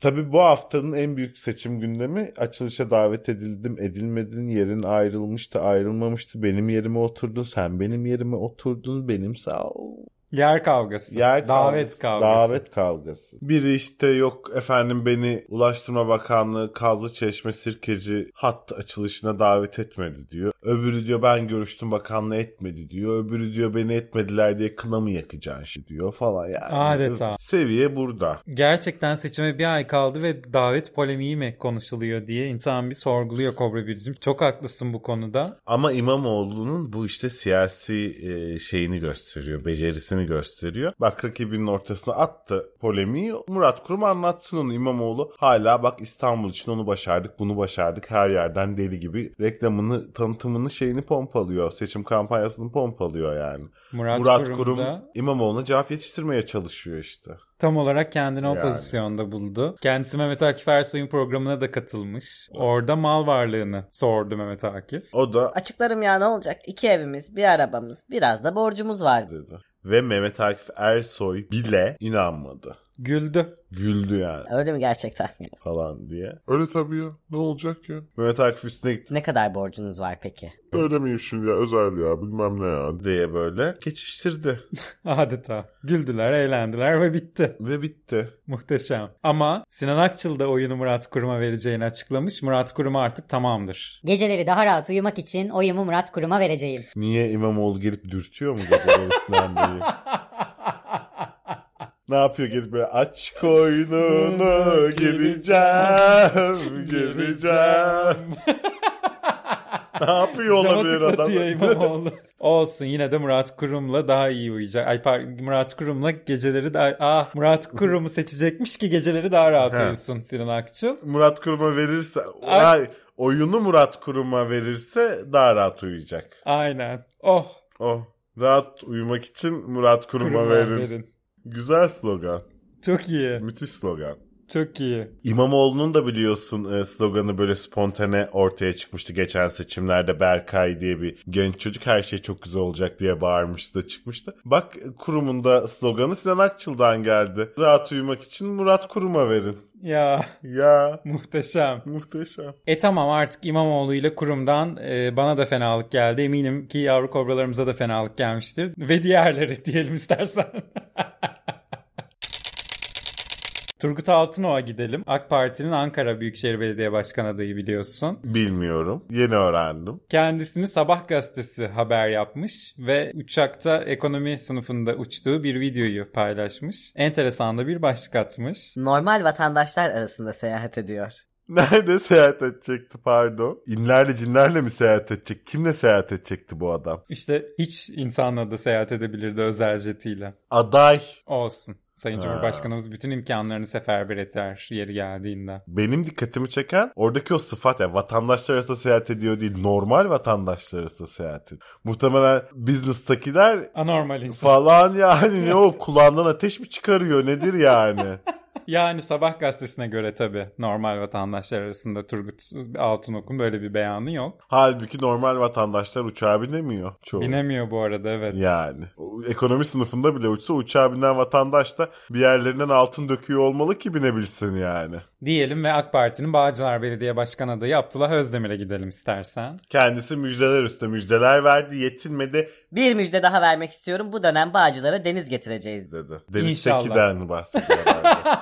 Tabii bu haftanın en büyük seçim gündemi açılışa davet edildim, edilmedin, yerin ayrılmıştı, ayrılmamıştı, benim yerime oturdun, sen benim yerime oturdun, benim sağ ol. Yer kavgası, Yer davet kavgası. Davet kavgası. Biri işte yok efendim beni Ulaştırma Bakanlığı Kazlı Çeşme Sirkeci hat açılışına davet etmedi diyor. Öbürü diyor ben görüştüm bakanla etmedi diyor. Öbürü diyor beni etmediler diye kına mı yakacaksın şimdi diyor falan yani. Adeta. Seviye burada. Gerçekten seçime bir ay kaldı ve davet polemiği mi konuşuluyor diye insan bir sorguluyor Kobra Biricim. Çok haklısın bu konuda. Ama İmamoğlu'nun bu işte siyasi e, şeyini gösteriyor, becerisini gösteriyor. Bak rakibinin ortasına attı polemiği. Murat Kurum anlatsın onu İmamoğlu. Hala bak İstanbul için onu başardık, bunu başardık. Her yerden deli gibi reklamını, tanıtımını, şeyini pompalıyor. Seçim kampanyasını pompalıyor yani. Murat, Murat Kurum, Kurum da İmamoğlu'na cevap yetiştirmeye çalışıyor işte. tam olarak kendini o Yani. pozisyonda buldu. Kendisi Mehmet Akif Ersoy'un programına da katılmış. Orada mal varlığını sordu Mehmet Akif. O da Açıklarım ya ne olacak? İki evimiz, bir arabamız, biraz da borcumuz vardı. dedi. Ve Mehmet Akif Ersoy bile inanmadı. Güldü. Güldü yani Öyle mi gerçekten? falan diye. Öyle tabii ya. Ne olacak ya? Mehmet Akif üstüne gitti. ne kadar borcunuz var peki? Öyle mi şimdi ya? Özel ya. Bilmem ne ya. diye böyle geçiştirdi Adeta. Güldüler, eğlendiler ve bitti. ve bitti. Muhteşem. Ama Sinan Akçıl da oyunu Murat Kurum'a vereceğini açıklamış. Murat Kurum artık tamamdır. Geceleri daha rahat uyumak için oyumu Murat Kurum'a vereceğim. Niye İmamoğlu gelip dürtüyor mu geceleri Sinan Bey'i? Ne yapıyor gelip böyle aç koynunu gireceğim gireceğim. ne yapıyor Cama olabilir adam? tıklatıyor İmamoğlu. Olsun yine de Murat Kurum'la daha iyi uyuyacak. Ay par- Murat Kurum'la geceleri daha... Ah Murat Kurum'u seçecekmiş ki geceleri daha rahat Ha. uyusun Sinan Akçıl. Murat Kurum'a verirse Ay. ay, oyunu Murat Kurum'a verirse daha rahat uyuyacak. Aynen. Oh. Oh rahat uyumak için Murat Kurum'a Kurum'a verin. verin. Güzel slogan. Çok iyi. Müthiş slogan. Çok iyi. İmamoğlu'nun da biliyorsun e, sloganı böyle spontane ortaya çıkmıştı geçen seçimlerde Berkay diye bir genç çocuk her şey çok güzel olacak diye bağırmıştı da çıkmıştı. Bak e, kurumunda sloganı Sinan Akçıl'dan geldi. Rahat uyumak için Murat Kurum'a verin. Ya Ya muhteşem. muhteşem. E tamam artık İmamoğlu ile kurumdan e, bana da fenalık geldi. Eminim ki yavru kobralarımıza da fenalık gelmiştir. Ve diğerleri diyelim istersen. Turgut Altınoğ'a gidelim. AK Parti'nin Ankara Büyükşehir Belediye Başkan adayı biliyorsun. Bilmiyorum. Yeni öğrendim. Kendisini Sabah Gazetesi haber yapmış ve uçakta ekonomi sınıfında uçtuğu bir videoyu paylaşmış. Enteresan da bir başlık atmış. Normal vatandaşlar arasında seyahat ediyor. Nerede seyahat edecekti pardon? İnlerle cinlerle mi seyahat edecek? Kimle seyahat edecekti bu adam? İşte hiç insanla da seyahat edebilirdi özel jetiyle. Aday. Olsun. Sayın Ha. Cumhurbaşkanımız bütün imkanlarını seferber eder yeri geldiğinde. Benim dikkatimi çeken oradaki o sıfat ya vatandaşlar arasında seyahat ediyor değil normal vatandaşlar arasında seyahat ediyor. Muhtemelen business'takiler Anormal insan. falan yani ne o kulağından ateş mi çıkarıyor nedir yani? yani Sabah gazetesine göre tabii normal vatandaşlar arasında Turgut Altınok'un böyle bir beyanı yok. Halbuki normal vatandaşlar uçağa binemiyor çoğu. Binemiyor bu arada evet. Yani O ekonomi sınıfında bile uçsa uçağa binen vatandaş da bir yerlerinden altın döküyor olmalı ki binebilsin yani. Diyelim ve AK Parti'nin Bağcılar Belediye Başkan adayı Abdullah Özdemir'e gidelim istersen. Kendisi müjdeler üstüne müjdeler verdi yetinmedi Bir müjde daha vermek istiyorum. Bu dönem Bağcılara deniz getireceğiz. dedi. Deniz İnşallah. Teki'den bahsediyor. herhalde.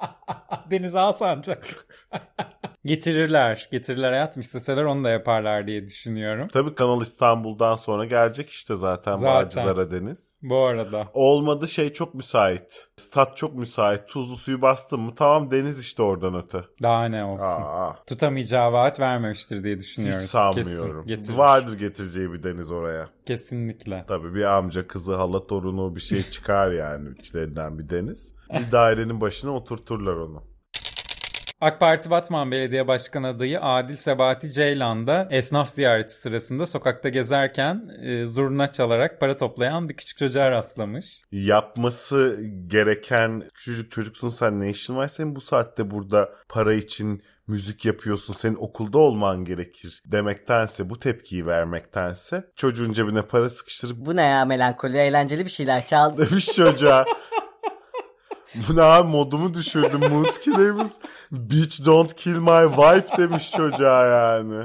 Deniz Alsancak. getirirler. Getirirler hayatım isteseler onu da yaparlar diye düşünüyorum. Tabii Kanal İstanbul'dan sonra gelecek işte zaten, Zaten. Bağcılar'a Deniz. Bu arada. Olmadı şey çok müsait. Stat çok müsait. Tuzlu suyu bastın mı tamam deniz işte oradan öte. Daha ne olsun. Aa, Tutamayacağı vaat vermemiştir diye hiç düşünüyoruz. sanmıyorum. Kesin, getirir. Vardır getireceği bir deniz oraya. Kesinlikle. Tabii bir amca, kızı, hala, torunu bir şey çıkar yani içlerinden bir deniz. Bir dairenin başına oturturlar onu. AK Parti Batman Belediye Başkan adayı Adil Sebati Ceylan da esnaf ziyareti sırasında sokakta gezerken e, zurna çalarak para toplayan bir küçük çocuğa rastlamış. Yapması gereken küçücük çocuksun sen ne işin var senin bu saatte burada para için müzik yapıyorsun senin okulda olman gerekir demektense bu tepkiyi vermektense çocuğun cebine para sıkıştırıp Bu ne ya melankoli eğlenceli bir şeyler çaldı. demiş çocuğa. Bu ne abi modumu düşürdü. Mood killerimiz bitch don't kill my wife demiş çocuğa yani.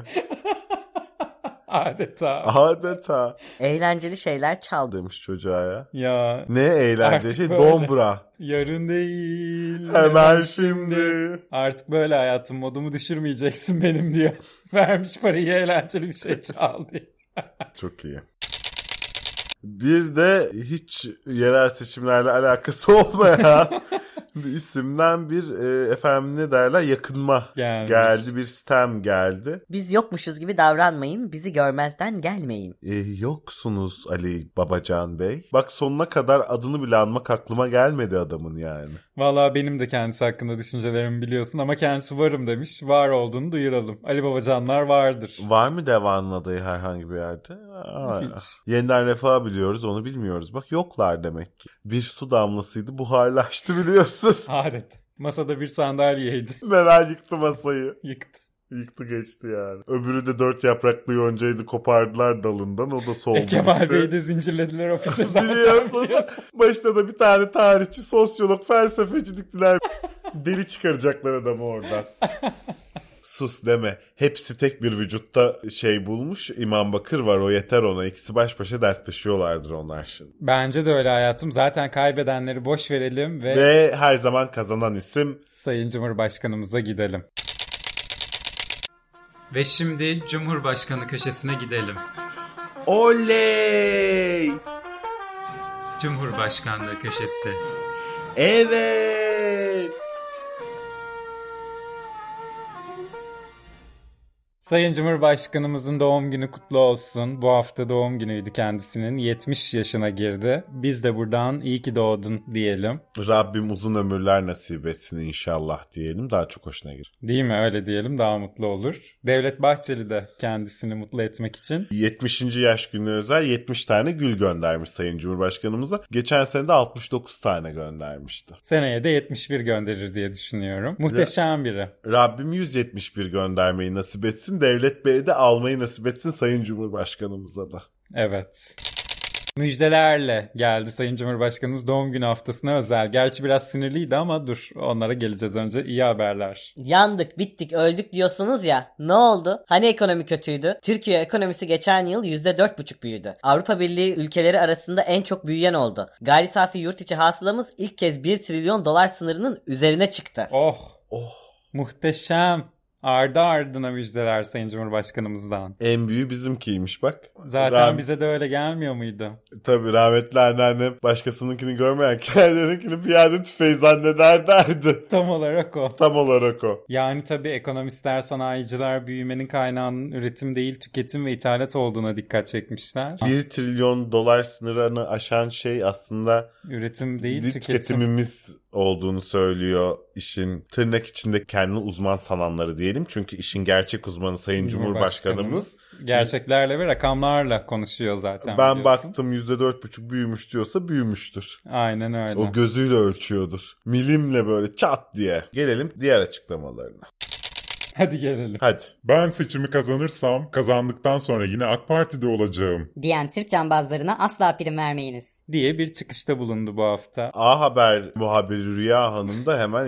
Adeta. Adeta eğlenceli şeyler çaldı. demiş çocuğa ya. Ya Ne eğlenceli Artık şey böyle. dombra. yarın değil. Hemen şimdi. Artık böyle hayatım modumu düşürmeyeceksin benim diyor. Vermiş parayı eğlenceli bir şey çal diye. Çok iyi. Bir de hiç yerel seçimlerle alakası olmayan bir isimden bir e, efendim ne derler yakınma Gelmiş. geldi bir sistem geldi. Biz yokmuşuz gibi davranmayın. Bizi görmezden gelmeyin. E, yoksunuz Ali Babacan Bey. Bak sonuna kadar adını bile anmak aklıma gelmedi adamın yani. Valla benim de kendisi hakkında düşüncelerimi biliyorsun ama kendisi varım demiş. Var olduğunu duyuralım. Ali Babacanlar vardır. Var mı devanın adayı herhangi bir yerde? Aa, Hiç. Yeniden refah biliyoruz onu bilmiyoruz. Bak yoklar demek ki. Bir su damlasıydı buharlaştı biliyorsunuz. Adet. Masada bir sandalyeydi. Meral yıktı masayı. Yıktı. Yıktı geçti yani. Öbürü de dört yapraklı yoncaydı kopardılar dalından o da soldu. E, Kemal gitti. Bey'i de zincirlediler ofise zaten. Biliyorsun. biliyorsun. Başta da bir tane tarihçi, sosyolog, felsefeci diktiler. Deli çıkaracaklar adamı oradan. Sus deme. Hepsi tek bir vücutta şey bulmuş. İmam Bakır var o yeter ona. İkisi baş başa dertleşiyorlardır onlar şimdi. Bence de öyle hayatım. Zaten kaybedenleri boş verelim ve, Ve her zaman kazanan isim Sayın Cumhurbaşkanımıza gidelim. Ve şimdi Cumhurbaşkanı köşesine gidelim. Oley! Cumhurbaşkanlığı köşesi. Evet! Sayın Cumhurbaşkanımızın doğum günü kutlu olsun. Bu hafta doğum günüydü kendisinin. 70 yaşına girdi. Biz de buradan iyi ki doğdun diyelim. Rabbim uzun ömürler nasip etsin inşallah diyelim. Daha çok hoşuna gider. Değil mi? Öyle diyelim daha mutlu olur. Devlet Bahçeli de kendisini mutlu etmek için 70. yaş gününe özel 70 tane gül göndermiş Sayın Cumhurbaşkanımıza. Geçen sene de 69 tane göndermişti. seneye de 71 gönderir diye düşünüyorum. Muhteşem biri. Rabbim 171 göndermeyi nasip etsin. Devlet Bey'e de almayı nasip etsin Sayın Cumhurbaşkanımıza da. Evet. Müjdelerle geldi Sayın Cumhurbaşkanımız doğum günü haftasına özel. Gerçi biraz sinirliydi ama dur onlara geleceğiz önce. İyi haberler. Yandık, bittik, öldük diyorsunuz ya. Ne oldu? Hani ekonomi kötüydü? Türkiye ekonomisi geçen yıl %4,5 büyüdü. Avrupa Birliği ülkeleri arasında en çok büyüyen oldu. Gayri safi yurt içi hasılamız ilk kez 1 trilyon dolar sınırının üzerine çıktı. Oh Oh muhteşem. Ardı ardına müjdeler Sayın Cumhurbaşkanımızdan. en büyüğü bizimkiymiş bak. Zaten Rah- bize de öyle gelmiyor muydu? Tabii rahmetli anneannem başkasınınkini görmeyen kendininkini piyade tüfeği zanneder derdi. Tam olarak o. Tam olarak o. Yani tabii ekonomistler, sanayiciler büyümenin kaynağının üretim değil tüketim ve ithalat olduğuna dikkat çekmişler. 1 trilyon dolar sınırını aşan şey aslında Üretim değil dil tüketim. tüketimimiz olduğunu söylüyor işin tırnak içinde kendini uzman sananları diyelim. Çünkü işin gerçek uzmanı Sayın Cumhurbaşkanımız. gerçeklerle ve rakamlarla konuşuyor zaten. Ben biliyorsun. baktım %4,5 büyümüş diyorsa büyümüştür. Aynen öyle. O gözüyle ölçüyordur. Milimle böyle çat diye. Gelelim diğer açıklamalarına. Hadi gelelim. Hadi. Ben seçimi kazanırsam kazandıktan sonra yine AK Parti'de olacağım. Diyen Sırp cambazlarına asla prim vermeyiniz. Diye bir çıkışta bulundu bu hafta. A Haber muhabiri Rüya Hanım da hemen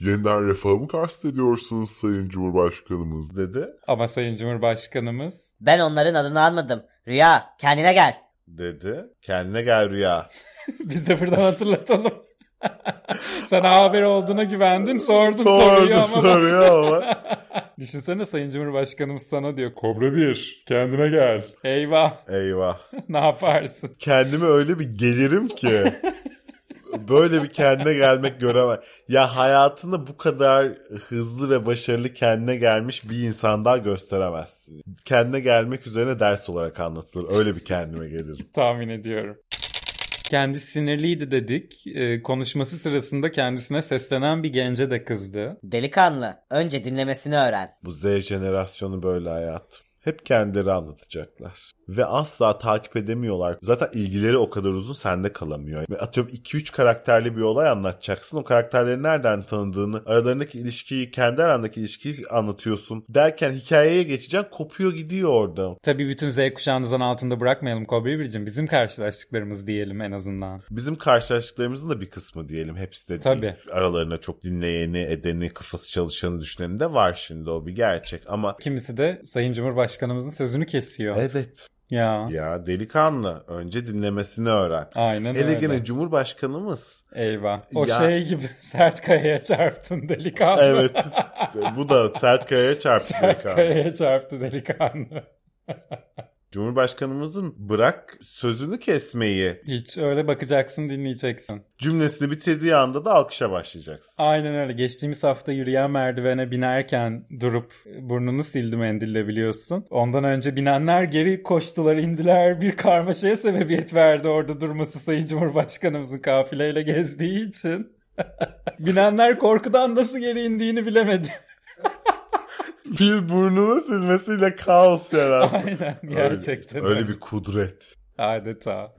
Yeniden refahımı kastediyorsunuz Sayın Cumhurbaşkanımız. dedi. Ama Sayın Cumhurbaşkanımız Ben onların adını almadım. Rüya, kendine gel. Dedi. Kendine gel Rüya. biz de buradan hatırlatalım. Sana haber olduğuna güvendin sordun soruyu Sordu ama. soruyor ama. Düşünsene Sayın Cumhurbaşkanımız sana diyor. Kobra 1 kendine gel. Eyvah Eyvah. ne yaparsın? kendime öyle bir gelirim ki. Böyle bir kendine gelmek göremem. Ya hayatında bu kadar hızlı ve başarılı kendine gelmiş bir insan daha gösteremezsin. Kendine gelmek üzerine ders olarak anlatılır. Öyle bir kendime gelirim. Tahmin ediyorum. Kendi sinirliydi dedik. Ee, konuşması sırasında kendisine seslenen bir gence de kızdı. Delikanlı, önce dinlemesini öğren. Bu Z jenerasyonu böyle hayat. Hep kendileri anlatacaklar. Ve asla takip edemiyorlar. Zaten ilgileri o kadar uzun sende kalamıyor. Ve atıyorum 2-3 karakterli bir olay anlatacaksın. O karakterleri nereden tanıdığını, aralarındaki ilişkiyi, kendi arandaki ilişkiyi anlatıyorsun. Derken hikayeye geçeceksin kopuyor gidiyor orada. Tabii bütün Z kuşağınızın altında bırakmayalım Kobe Biricim. Bizim karşılaştıklarımız diyelim en azından. Bizim karşılaştıklarımızın da bir kısmı diyelim. Hepsi de değil. Tabii. Aralarına çok dinleyeni, edeni, kafası çalışanı düşüneni de var şimdi o bir gerçek. Ama Kimisi de Sayın Cumhurbaşkanımızın sözünü kesiyor. evet Ya. ya delikanlı önce dinlemesini öğren. Aynen Hele öyle. gene Cumhurbaşkanımız. Eyvah. O Ya. şey gibi sert kayaya çarptın delikanlı. Evet. bu da sert kayaya çarptı. Ah. sert Gökhan. kayaya çarptı delikanlı. Cumhurbaşkanımızın bırak sözünü kesmeyi Hiç öyle bakacaksın dinleyeceksin. cümlesini bitirdiği anda da alkışa başlayacaksın. Aynen öyle. Geçtiğimiz hafta yürüyen merdivene binerken durup burnunu sildi mendille biliyorsun. Ondan önce binenler geri koştular indiler. Bir karmaşaya sebebiyet verdi orada durması Sayın Cumhurbaşkanımızın kafileyle gezdiği için. Binenler korkudan nasıl geri indiğini bilemedi. Bir burnunu silmesiyle kaos yarattı. Aynen gerçekten. Öyle, öyle bir kudret. Adeta.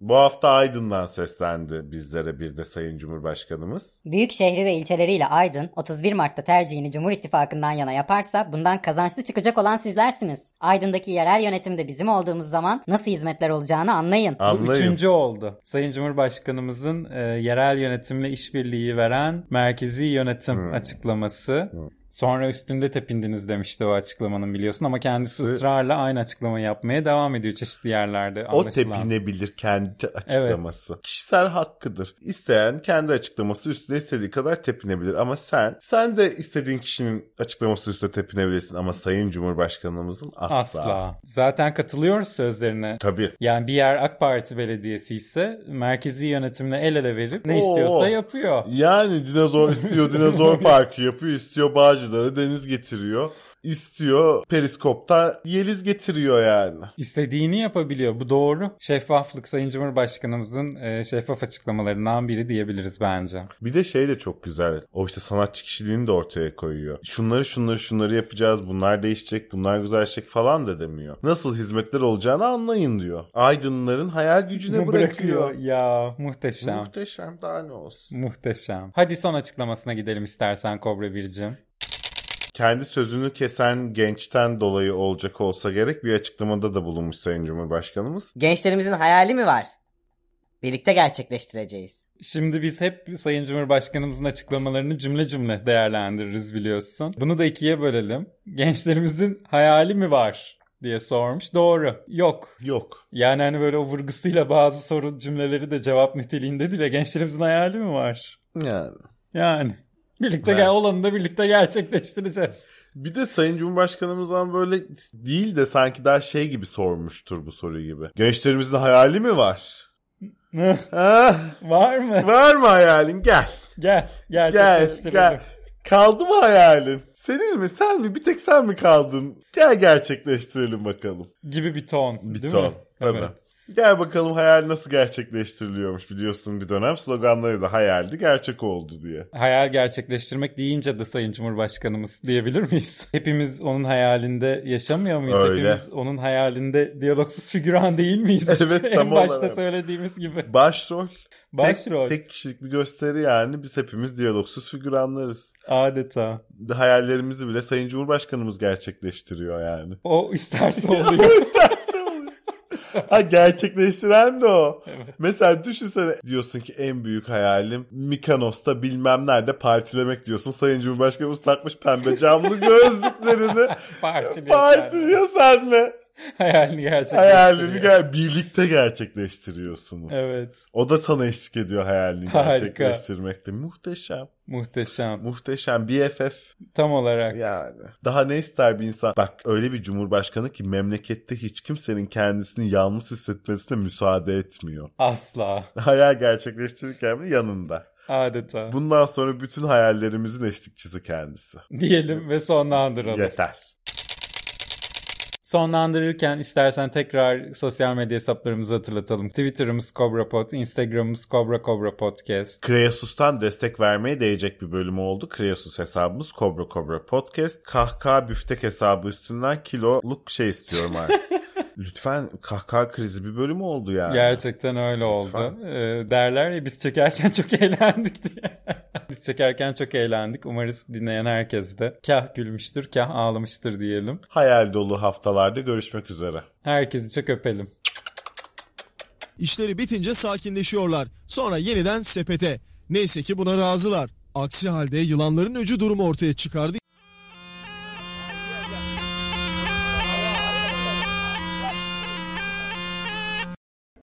Bu hafta Aydın'dan seslendi bizlere bir de Sayın Cumhurbaşkanımız. Büyük şehri ve ilçeleriyle Aydın 31 Mart'ta tercihini Cumhur İttifakı'ndan yana yaparsa bundan kazançlı çıkacak olan sizlersiniz. Aydın'daki yerel yönetimde bizim olduğumuz zaman nasıl hizmetler olacağını anlayın. Anlayın. Bu üçüncü oldu. Sayın Cumhurbaşkanımızın e, yerel yönetimle işbirliği veren merkezi yönetim Hmm. açıklaması. Sonra üstünde tepindiniz demişti o açıklamanın biliyorsun ama kendisi Sı- ısrarla aynı açıklamayı yapmaya devam ediyor çeşitli yerlerde. O anlaşılan. tepinebilir kendi açıklaması. Kişisel hakkıdır. İsteyen kendi açıklaması üstüne istediği kadar tepinebilir ama sen sen de istediğin kişinin açıklaması üstüne tepinebilirsin ama Sayın Cumhurbaşkanımızın asla. Asla. Zaten katılıyoruz sözlerine. Tabii. Yani bir yer AK Parti belediyesi ise merkezi yönetimle el ele verip ne Oo. istiyorsa yapıyor. Yani dinozor istiyor dinozor parkı yapıyor, istiyor bağcılara deniz getiriyor. istiyor. Periskop'ta Yeliz getiriyor yani. İstediğini yapabiliyor. Bu doğru. Şeffaflık Sayın Cumhurbaşkanımızın e, şeffaf açıklamalarından biri diyebiliriz bence. Bir de şey de çok güzel. O işte sanatçı kişiliğini de ortaya koyuyor. Şunları şunları şunları yapacağız. Bunlar değişecek. Bunlar güzelleşecek falan da demiyor. Nasıl hizmetler olacağını anlayın diyor. Aydınların hayal gücüne bırakıyor. Ya muhteşem. Muhteşem daha ne olsun. Muhteşem. Hadi son açıklamasına gidelim istersen Kobra Bircim. Kendi sözünü kesen gençten dolayı olacak olsa gerek bir açıklamada da bulunmuş Sayın Cumhurbaşkanımız. Gençlerimizin hayali mi var? Birlikte gerçekleştireceğiz. Şimdi biz hep Sayın Cumhurbaşkanımızın açıklamalarını cümle cümle değerlendiririz biliyorsun. Bunu da ikiye bölelim. Gençlerimizin hayali mi var diye sormuş. Doğru. Yok. Yok. Yani hani böyle o vurgusuyla bazı soru cümleleri de cevap niteliğindedir ya. Gençlerimizin hayali mi var? Yani. Yani. Birlikte Ben- gel olanı da birlikte gerçekleştireceğiz. Bir de Sayın Cumhurbaşkanımızdan böyle değil de sanki daha şey gibi sormuştur bu soruyu gibi. Gençlerimizin hayali mi var? Ha? Var mı? Var mı hayalin? Gel. Gel. Gel. Gerçekleştirelim. Gel. Kaldı mı hayalin? Senin mi? Sen mi? Bir tek sen mi kaldın? Gel gerçekleştirelim bakalım. Gibi bir ton. Bir değil ton. Mi? Tabii. Evet. Gel bakalım hayal nasıl gerçekleştiriliyormuş biliyorsun bir dönem sloganları da hayaldi gerçek oldu diye. Hayal gerçekleştirmek deyince de Sayın Cumhurbaşkanımız diyebilir miyiz? Hepimiz onun hayalinde yaşamıyor muyuz? Öyle. Hepimiz onun hayalinde diyalogsuz figüran değil miyiz? Evet, İşte tam En başta olarak. söylediğimiz gibi. Başrol. Başrol Tek, tek kişilik bir gösteri yani biz hepimiz diyalogsuz figüranlarız. adeta. hayallerimizi bile Sayın Cumhurbaşkanımız gerçekleştiriyor yani. O isterse oluyor. İsterse oluyor. ha gerçekleştiren de o. Mesela düşünsene diyorsun ki en büyük hayalim Mikanos'ta bilmem nerede partilemek diyorsun. Sayın Cumhurbaşkanımız takmış pembe camlı gözlüklerini Parti diyor sen. partiliyor senle. Hayalini gerçekleştiriyor. Hayalini gel birlikte gerçekleştiriyorsunuz. Evet. O da sana eşlik ediyor hayalini Harika. gerçekleştirmekte. Muhteşem. Muhteşem. Muhteşem BFF. Tam olarak. Yani. Daha ne ister bir insan? Bak öyle bir cumhurbaşkanı ki memlekette hiç kimsenin kendisini yalnız hissetmesine müsaade etmiyor. Asla. Hayal gerçekleştirirken bile yanında. Adeta. Bundan sonra bütün hayallerimizin eşlikçisi kendisi. Diyelim ve sonlandıralım. Yeter. Sonlandırırken istersen tekrar sosyal medya hesaplarımızı hatırlatalım. Twitter'ımız CobraPod, Instagram'ımız Cobra Cobra Podcast. Kreasus'tan destek vermeye değecek bir bölüm oldu. Kreasus hesabımız Kobra Kobra Podcast. Kahkaha büftek hesabı üstünden kiloluk şey istiyorum artık. Lütfen kahkaha krizi bir bölüm oldu yani. Gerçekten öyle oldu. Lütfen. Ee, derler ya biz çekerken çok eğlendik diye. biz çekerken çok eğlendik. Umarız dinleyen herkes de kah gülmüştür, kah ağlamıştır diyelim. Hayal dolu haftalarda görüşmek üzere. Herkesi çok öpelim. İşleri bitince sakinleşiyorlar. Sonra yeniden sepete. Neyse ki buna razılar. Aksi halde yılanların öcü durumu ortaya çıkardı.